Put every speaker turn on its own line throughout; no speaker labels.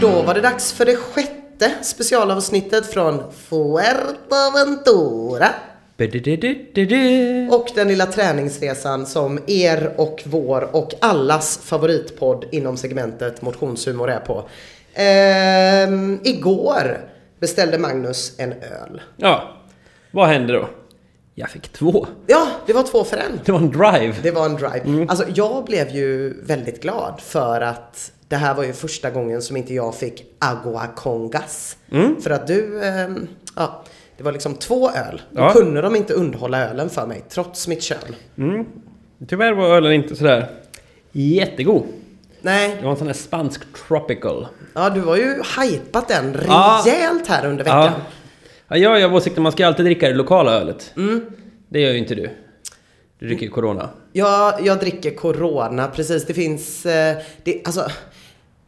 Då var det dags för det sjätte specialavsnittet från Fuerteventura.
Ba-da-da-da-da-da.
Och den lilla träningsresan som er och vår och allas favoritpodd inom segmentet motionshumor är på. Ehm, igår beställde Magnus en öl.
Ja, vad hände då? Jag fick två.
Ja, det var två för en.
Det var en drive.
Det var en drive.
Mm.
Alltså jag blev ju väldigt glad för att det här var ju första gången som inte jag fick agua con gas.
Mm.
För att du, ehm, ja, det var liksom två öl. Då
Ja.
kunde de inte underhålla ölen för mig, trots mitt kön.
Tyvärr var ölen inte sådär jättegod. Det
Nej,
var en sån där spansk tropical.
ja du var ju hypat den
Ja.
rejält här under veckan.
Ja, jag är av åsikten att man ska alltid dricka det lokala ölet. Det gör ju inte du. Du dricker ju Corona.
Jag, jag dricker Corona, precis. Det finns, eh, det, alltså,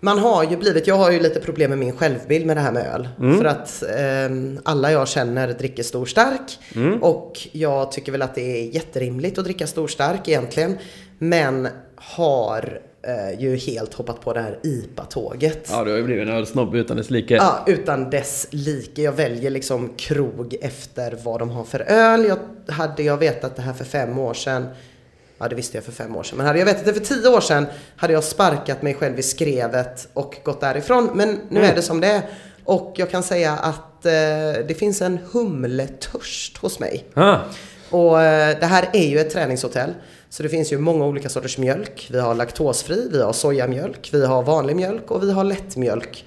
man har ju blivit, jag har ju lite problem med min självbild med det här med öl. För att eh, alla jag känner dricker stor stark. Och jag tycker väl att det är jätterimligt att dricka stor stark egentligen. Men har eh, ju helt hoppat på det här IPA-tåget.
Ja, du har ju blivit en ölsnobb utan dess like.
Ja, utan dess like. Jag väljer liksom krog efter vad de har för öl. Jag, hade jag vetat det här för fem år sedan, ja det visste jag för fem år sedan, men hade jag vetat det för tio år sedan hade jag sparkat mig själv i skrevet och gått därifrån. Men nu är det som det är. Och jag kan säga att eh, det finns en humletörst hos mig.
Ah,
Och eh, det här är ju ett träningshotell. Så det finns ju många olika sorters mjölk. Vi har laktosfri, vi har sojamjölk, vi har vanlig mjölk och vi har lättmjölk.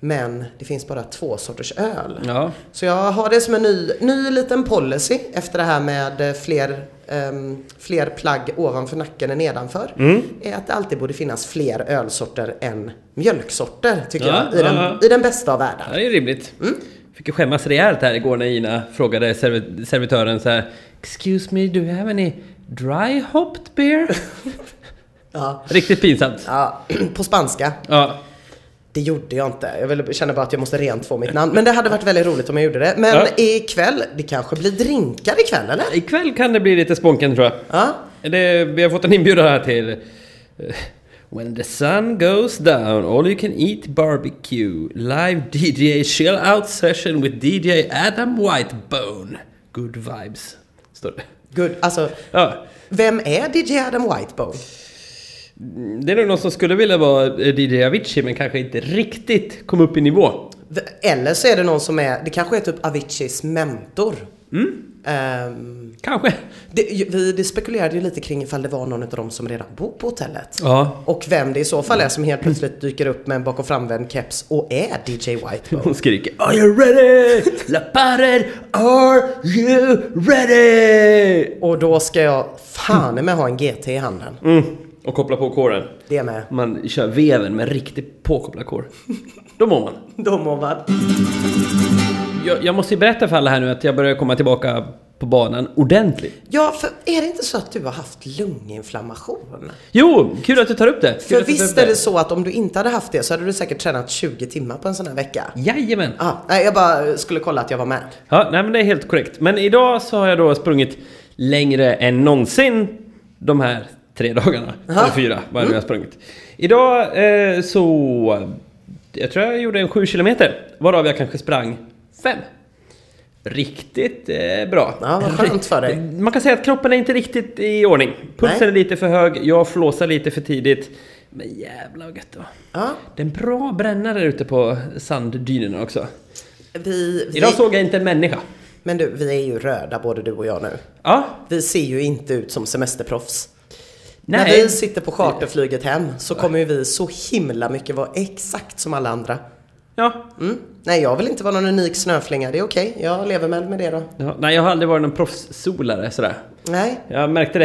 Men det finns bara två sorters öl.
ja.
Så jag har det som en ny, ny liten policy efter det här med eh, fler, ehm, fler plagg ovanför nacken än nedanför.
Mm.
Är att det alltid borde finnas fler ölsorter än mjölksorter, tycker
Ja,
jag. I,
ja,
den,
ja.
I den bästa av världar.
Ja, det är rimligt. Fick ju skämmas rejält här igår när Ina frågade serv- servitören så här Excuse me, do you have any dry hopped beer?
Ja.
Riktigt pinsamt.
Ja, på spanska.
Ja.
Det gjorde jag inte. Jag ville- kände bara att jag måste rent få mitt namn. Men det hade varit väldigt roligt om jag gjorde det. Men
Ja.
ikväll, det kanske blir drinkar ikväll eller?
Ikväll kan det bli lite sponken tror jag.
Ja.
Det, vi har fått en inbjudan här till eh, When the sun goes down all you can eat barbecue Live DJ chill out session with DJ Adam Whitebone Good vibes, står det.
Good. Alltså,
Ja,
vem är DJ Adam Whitebone?
det är nog någon som skulle vilja vara eh, DJ Avicii men kanske inte riktigt kom upp i nivå.
V- Eller så är det någon som är, det kanske är typ Aviciis mentor.
Mm.
Ehm,
Kanske.
det, ju- vi det spekulerade ju lite kring ifall det var någon av dem som redan bor på hotellet.
Ja.
Och vem det i så fall är som helt plötsligt dyker upp med en bak och framvänd keps och är DJ Whitebone.
Hon skriker Are you ready? La pared, are you ready?
Och då ska jag fan med ha en GT i handen.
Mm. Och koppla på kåren.
Det med.
Man kör veven med riktigt påkopplad kår. Då mår man.
De och vad?
Jag, jag måste ju berätta för alla här nu att jag börjar komma tillbaka på banan ordentligt.
Ja, för är det inte så att du har haft lunginflammation?
Jo, kul att du tar upp det! Kul
För
att du tar
visst
upp
är det så att om du inte hade haft det så hade du säkert tränat 20 timmar på en sån här vecka?
Jajamän!
Ah, nej, jag bara skulle kolla att jag var med.
Ja, nej men det är helt korrekt. Men idag så har jag då sprungit längre än någonsin de här tre dagarna.
Aha.
Eller fyra, vad är det jag har sprungit. Idag eh, så... Jag tror jag gjorde en sju kilometer, varav jag kanske sprang fem. Riktigt eh, bra.
Ja, vad skönt för dig.
Man kan säga att kroppen är inte riktigt i ordning. Pulsen
Nej.
är lite för hög, jag flåsar lite för tidigt. Men jävla vad gött det var.
Ja,
Det är en bra brännare ute på sanddynerna också.
vi, vi,
Idag såg jag inte en människa.
Men du, vi är ju röda både du och jag nu.
Ja,
Vi ser ju inte ut som semesterproffs.
Nej.
När vi sitter på charterflyget hem så kommer ju vi så himla mycket vara exakt som alla andra.
ja.
Mm. Nej, jag vill inte vara någon unik snöflinga. Det är okej. Jag lever väl med det då.
ja. Nej, jag har aldrig varit någon proffssolare sådär.
Nej.
Jag märkte det.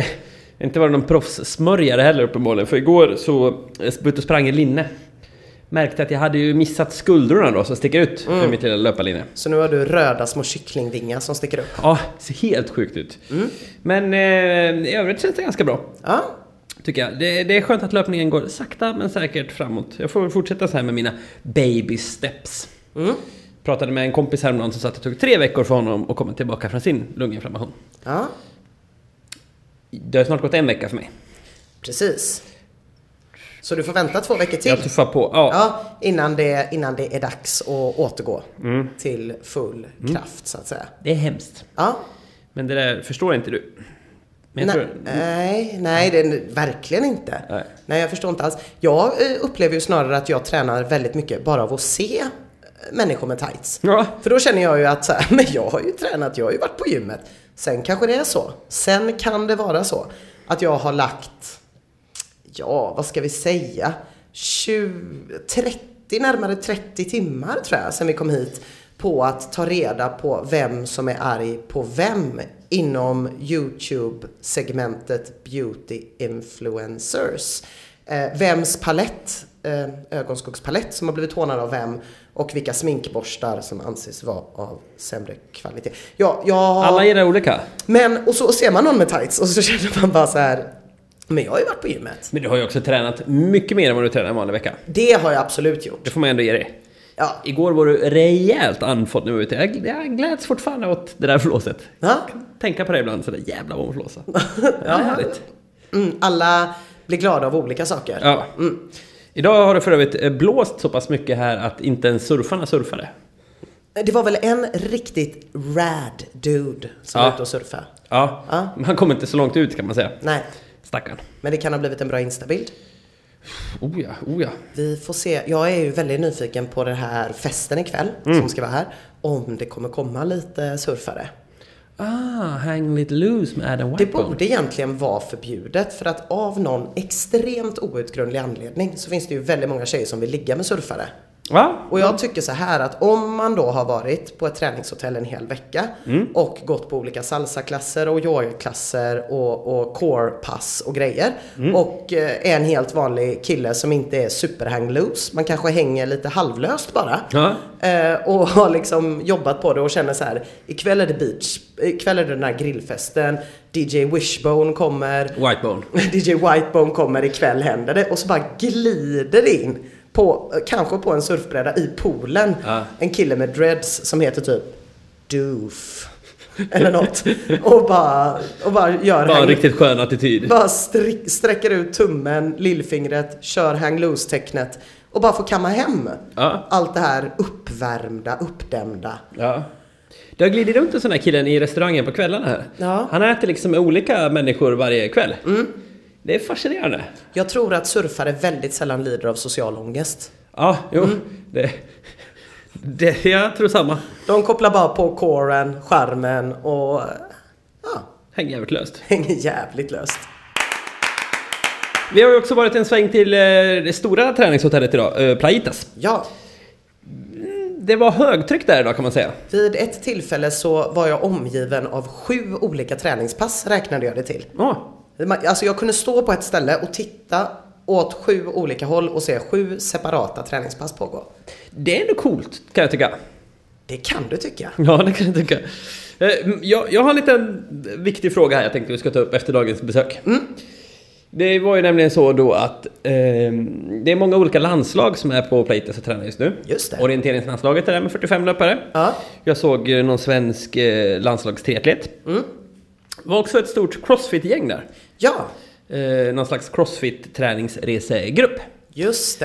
Jag har inte varit någon proffssmörjare heller uppenbarligen. För igår så eh, var ute och sprang i linne. Märkte att jag hade ju missat skuldrorna då som sticker ut med mitt lilla löparlinne.
Så nu har du röda små kycklingvingar som sticker upp.
Ja, ser helt sjukt ut. Men eh, i övrigt känns det ganska bra.
Ja,
Tycker jag. Det, det är skönt att löpningen går sakta men säkert framåt. Jag får väl fortsätta så här med mina baby steps.
Mm.
Pratade med en kompis häromdagen som sa att det tog tre veckor för honom att komma tillbaka från sin lunginflammation.
ja
Det har snart gått en vecka för mig.
precis. Så du får vänta två veckor till.
Jag tuffar på. Ja.
Typ. Ja, innan det, innan det är dags att återgå till full kraft så att säga.
Det är hemskt.
Ja.
Men det där förstår inte du. Men jag
Nej,
tror...
nej, nej, det är verkligen inte.
Nej.
jag förstår inte alls. Jag eh, upplever ju snarare att jag tränar väldigt mycket bara av att se eh, människor med tights.
Ja.
För då känner jag ju att så här, men jag har ju tränat, jag har ju varit på gymmet. Sen kanske det är så. Sen kan det vara så att jag har lagt, ja vad ska vi säga, 20, 30, närmare 30 timmar tror jag sen vi kom hit på att ta reda på vem som är arg på vem inom YouTube-segmentet Beauty Influencers. Eh, vems palett, eh, ögonskuggspalett som har blivit hånad av vem och vilka sminkborstar som anses vara av sämre kvalitet. Ja, jag har...
Alla gillar olika.
Men, och så ser man någon med tights och så känner man bara så här. Men jag har ju varit på gymmet.
Men du har ju också tränat mycket mer än vad du tränar en vanlig vecka.
Det har jag absolut gjort.
Det får man ändå ge dig.
Ja.
Igår var du rejält andfådd när du var ute. Jag, jag gläds fortfarande åt det där flåset.
Ja.
Tänka på det ibland, sådär jävla vad hon flåsar. Det är härligt.
Mm, alla blir glada av olika saker.
Ja.
Mm.
Idag har det för övrigt eh, blåst så pass mycket här att inte ens surfarna surfade.
Det var väl en riktigt rad dude som
Ja.
var ute och surfade.
Ja.
Ja.
Man kom inte så långt ut kan man säga.
Nej,
Stackarn.
men det kan ha blivit en bra instabild.
Oh ja, oh ja.
Vi får se. Jag är ju väldigt nyfiken på den här festen ikväll
Mm.
som ska vara här. Om det kommer komma lite surfare.
Ah, Hang It Loose med Adam
Det
Whitebone.
borde egentligen vara förbjudet för att av någon extremt outgrundlig anledning så finns det ju väldigt många tjejer som vill ligga med surfare.
Va?
Och jag tycker så här att om man då har varit på ett träningshotell en hel vecka och gått på olika salsaklasser och yogaklasser och, och core-pass och grejer och eh, är en helt vanlig kille som inte är superhang-loose, man kanske hänger lite halvlöst bara
Ja.
eh, och har liksom jobbat på det och känner så här ikväll är det beach, ikväll är det den här grillfesten, DJ Wishbone kommer,
Whitebone.
DJ Whitebone kommer ikväll händer det och så bara glider det in på, kanske på en surfbräda i poolen,
Ja.
en kille med dreads som heter typ Doof eller något och bara, och bara gör
Bara en
hang-
riktigt skön attityd.
bara stri- sträcker ut tummen, lillfingret, kör hang loose-tecknet och bara får kamma hem
Ja.
allt det här uppvärmda, uppdämda.
Ja. Det har glidit runt en sån här killen i restaurangen på kvällarna här.
Ja. Mm.
Han äter liksom med olika människor varje kväll. Det är fascinerande.
Jag tror att surfare väldigt sällan lider av social ångest.
Ja, jo.
Mm.
Det, det, jag tror samma.
De kopplar bara på coren, skärmen och ja,
Hänger jävligt löst.
hänger jävligt löst.
Vi har ju också varit en sväng till eh, det stora träningshotellet idag, eh, Plaitas.
Ja,
Det var högtryck där idag kan man säga.
vid ett tillfälle så var jag omgiven av sju olika träningspass räknade jag det till.
Ja.
Alltså jag kunde stå på ett ställe och titta åt sju olika håll och se sju separata träningspass pågå.
Det är ändå coolt kan jag tycka.
Det kan du tycka.
Ja, det kan jag tycka. Eh, m- Jag, jag har en liten viktig fråga här jag tänkte vi ska ta upp efter dagens besök.
Mm.
Det var ju nämligen så då att ehm, det är många olika landslag som är på Playtas och tränar just nu.
Just det.
Orienteringslandslaget är där med 45 löpare.
Ja.
Jag såg eh, någon svensk eh, landslagstriatlet.
Mm.
Det var också ett stort crossfit-gäng där.
Ja,
Eh, någon slags crossfit-träningsresegrupp.
just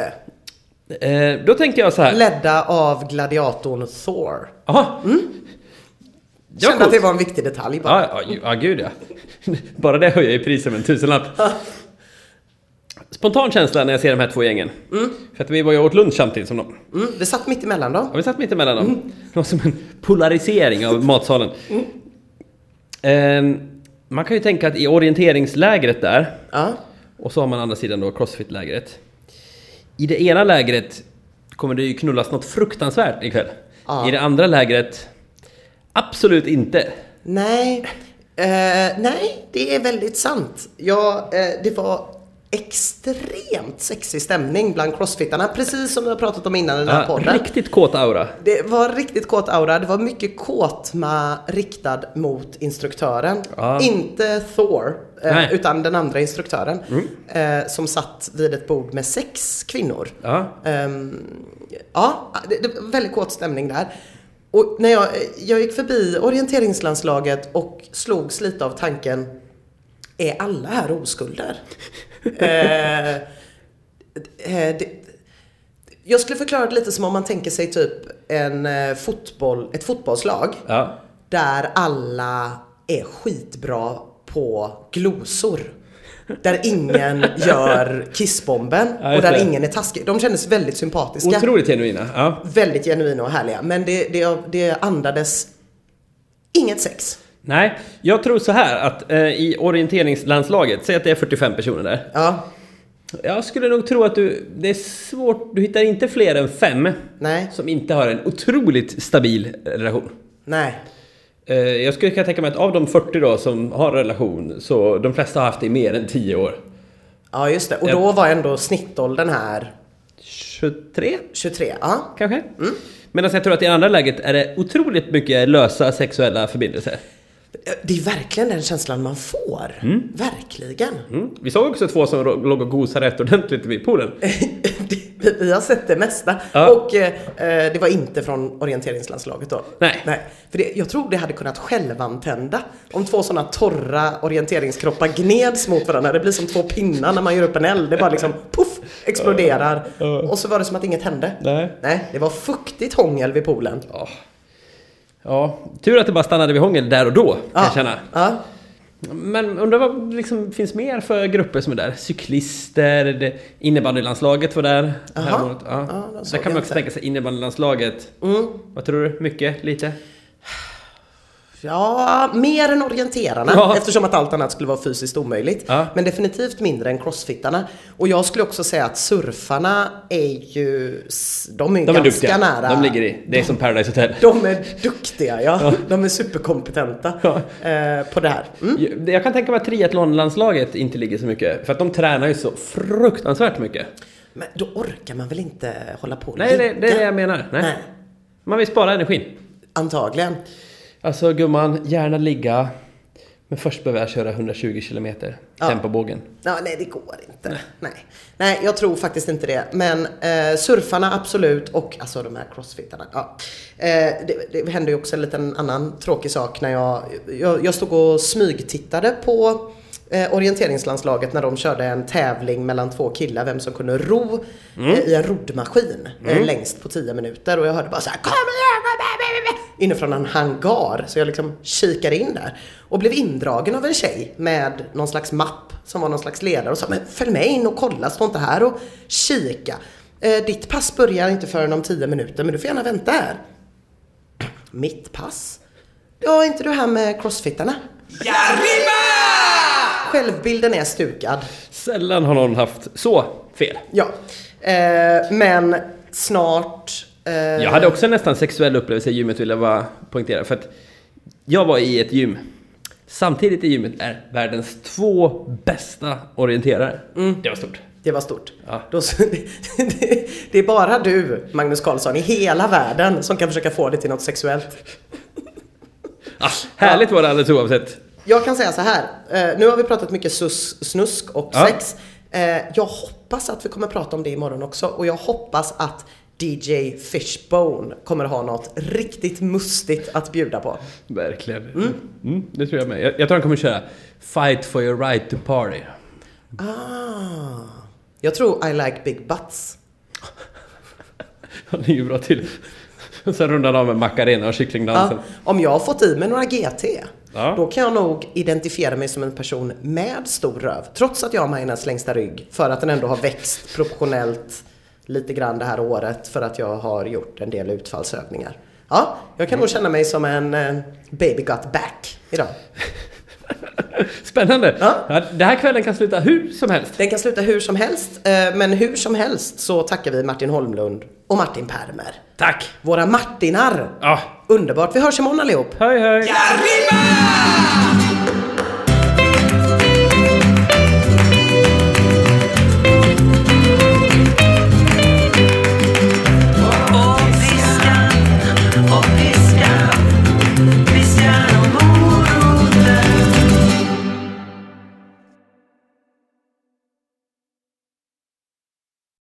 det.
Eh, då tänker jag så här.
Ledda av gladiatorn Thor.
Jaha! Ja,
Mm. Kände att
coolt.
det var en viktig detalj bara.
Ja, ja, ju- ja, gud ja. Bara det höjer ju priset med en tusenlapp. Spontan känsla när jag ser de här två gängen. För att vi var ju och åt lunch samtidigt som dem.
Mm, vi satt mitt emellan dem.
Ja, vi satt mitt emellan dem.
Mm.
Det var som en polarisering av matsalen. Eh, man kan ju tänka att i orienteringslägret där,
Ja.
och så har man andra sidan då crossfit-lägret. I det ena lägret kommer det ju knullas något fruktansvärt ikväll.
Ja.
I det andra lägret, absolut inte.
Nej, eh, nej, det är väldigt sant. Ja, eh, det var extremt sexig stämning bland crossfittarna, precis som vi har pratat om innan i den här
Ja,
podden.
riktigt kåt aura.
Det var riktigt kåt aura, det var mycket kåtma riktad mot instruktören.
Ja.
Inte Thor,
Nej. Mm.
eh, utan den andra instruktören. Eh, som satt vid ett bord med sex kvinnor.
Ja.
Ehm, ja, det, det var väldigt kåt stämning där. Och när jag, jag gick förbi orienteringslandslaget och slogs lite av tanken, är alla här oskulder? Eh, eh, det, jag skulle förklara det lite som om man tänker sig typ en eh, fotboll, ett fotbollslag
Ja.
där alla är skitbra på glosor. Där ingen gör kissbomben
Ja,
och
just
där
det.
ingen är taskig. De kändes väldigt sympatiska.
Otroligt genuina. Ja.
Väldigt genuina och härliga. Men det, det, det andades inget sex.
Nej, jag tror så här att eh, i orienteringslandslaget, säg att det är 45 personer där.
Ja,
Jag skulle nog tro att du, det är svårt, du hittar inte fler än fem
nej,
som inte har en otroligt stabil relation.
nej.
Eh, jag skulle kunna tänka mig att av de 40 då som har relation, så de flesta har haft det i mer än 10 år.
Ja, just det. Och då var ändå snittåldern här
23
23. Ja.
kanske? Mm. Medan jag tror att i andra läget är det otroligt mycket lösa sexuella förbindelser.
Det är verkligen den känslan man får. Verkligen.
Mm. Vi såg också två som ro- låg och gosade rätt ordentligt vid poolen.
Det- vi, vi har sett det mesta.
Ja.
Och eh, eh, det var inte från orienteringslandslaget då.
Nej.
För det, jag tror det hade kunnat självantända om två sådana torra orienteringskroppar gneds mot varandra. Det blir som två pinnar när man gör upp en eld. Det bara liksom puff, exploderar.
Ja.
Och så var det som att inget hände.
Nej.
Nej, det var fuktigt hångel vid poolen.
Ja. ja, tur att det bara stannade vid hångel där och då, kan jag känna.
Ja.
Men undrar vad liksom finns mer för grupper som är där? Cyklister, det- innebandylandslaget var där.
Jaha.
häromåret.
Ja,
Ja.
de såg
där kan man
jag
också
inte.
tänka sig innebandylandslaget.
Mm.
Vad tror du? Mycket? Lite?
Ja, mer än orienterarna
Ja.
eftersom att allt annat skulle vara fysiskt omöjligt.
Ja.
Men definitivt mindre än crossfittarna. Och jag skulle också säga att surfarna är ju... s- De är, ju
De är
ganska
duktiga.
nära.
De ligger i. Det är som Paradise Hotel.
De är duktiga, ja. De är superkompetenta eh, på det här. Mm.
Jag- Jag kan tänka mig att triathlonlandslaget inte ligger så mycket, för att de tränar ju så fruktansvärt mycket.
Men då orkar man väl inte hålla på och
Nej, det, det är det
ligga?
jag menar. Nej.
Nej.
Man vill spara energin.
Antagligen.
Alltså gumman, gärna ligga, men först behöver jag köra 120 kilometer,
Ja.
tempobågen.
Ja, nej, det går inte. Nej. Nej. jag tror faktiskt inte det. Men eh, surfarna absolut och alltså de här crossfittarna. Ja. Eh, det, det hände ju också en liten annan tråkig sak när jag, jag, jag stod och smygtittade på eh, orienteringslandslaget när de körde en tävling mellan två killar vem som kunde ro eh, i en roddmaskin eh, längst på 10 minuter och jag hörde bara så här Kom igen, kom igen, kom igen!" inifrån en hangar. Så jag liksom kikade in där och blev indragen av en tjej med någon slags mapp som var någon slags ledare och sa men följ med in och kolla, stå inte här och kika. Eh, ditt pass börjar inte förrän om 10 minuter men du får gärna vänta här. Mitt pass? Ja, är inte du här med crossfittarna? Självbilden är stukad.
Sällan har någon haft så fel.
Ja. Eh, men snart... Eh,
Jag hade också en nästan sexuell upplevelse i gymmet vill jag bara poängtera, för att jag var i ett gym. Samtidigt i gymmet är världens två bästa orienterare.
Mm.
Det var stort.
Det var stort.
Ja.
Då, det, det är bara du, Magnus Carlsson, i hela världen som kan försöka få det till något sexuellt.
Ah, härligt var det alldeles oavsett.
Jag kan säga så här. Eh, nu har vi pratat mycket sus, snusk och
Ja.
sex. Eh, jag hoppas att vi kommer prata om det imorgon också och jag hoppas att DJ Fishbone kommer ha något riktigt mustigt att bjuda på.
Verkligen. Mm. det tror jag med. Jag, jag tror han kommer köra Fight for your right to party.
Ah, jag tror I like big butts.
Han är ju bra till. Och sen rundar han av med Macarena och kycklingdansen.
Ja, om jag har fått i mig några GT,
Alltså. Ja.
då kan jag nog identifiera mig som en person med stor röv. Trots att jag har majornas längsta rygg, för att den ändå har växt proportionellt lite grann det här året, för att jag har gjort en del utfallsövningar. Ja, jag
Mm.
kan nog känna mig som en eh, baby got back idag.
Spännande!
Ja.
Ja, det här kvällen kan sluta hur som helst.
Den kan sluta hur som helst, eh, men hur som helst så tackar vi Martin Holmlund och Martin Permer.
Tack!
Våra Martinar!
Ja.
Underbart, vi hörs imorgon allihop!
Hej hej!
arriba!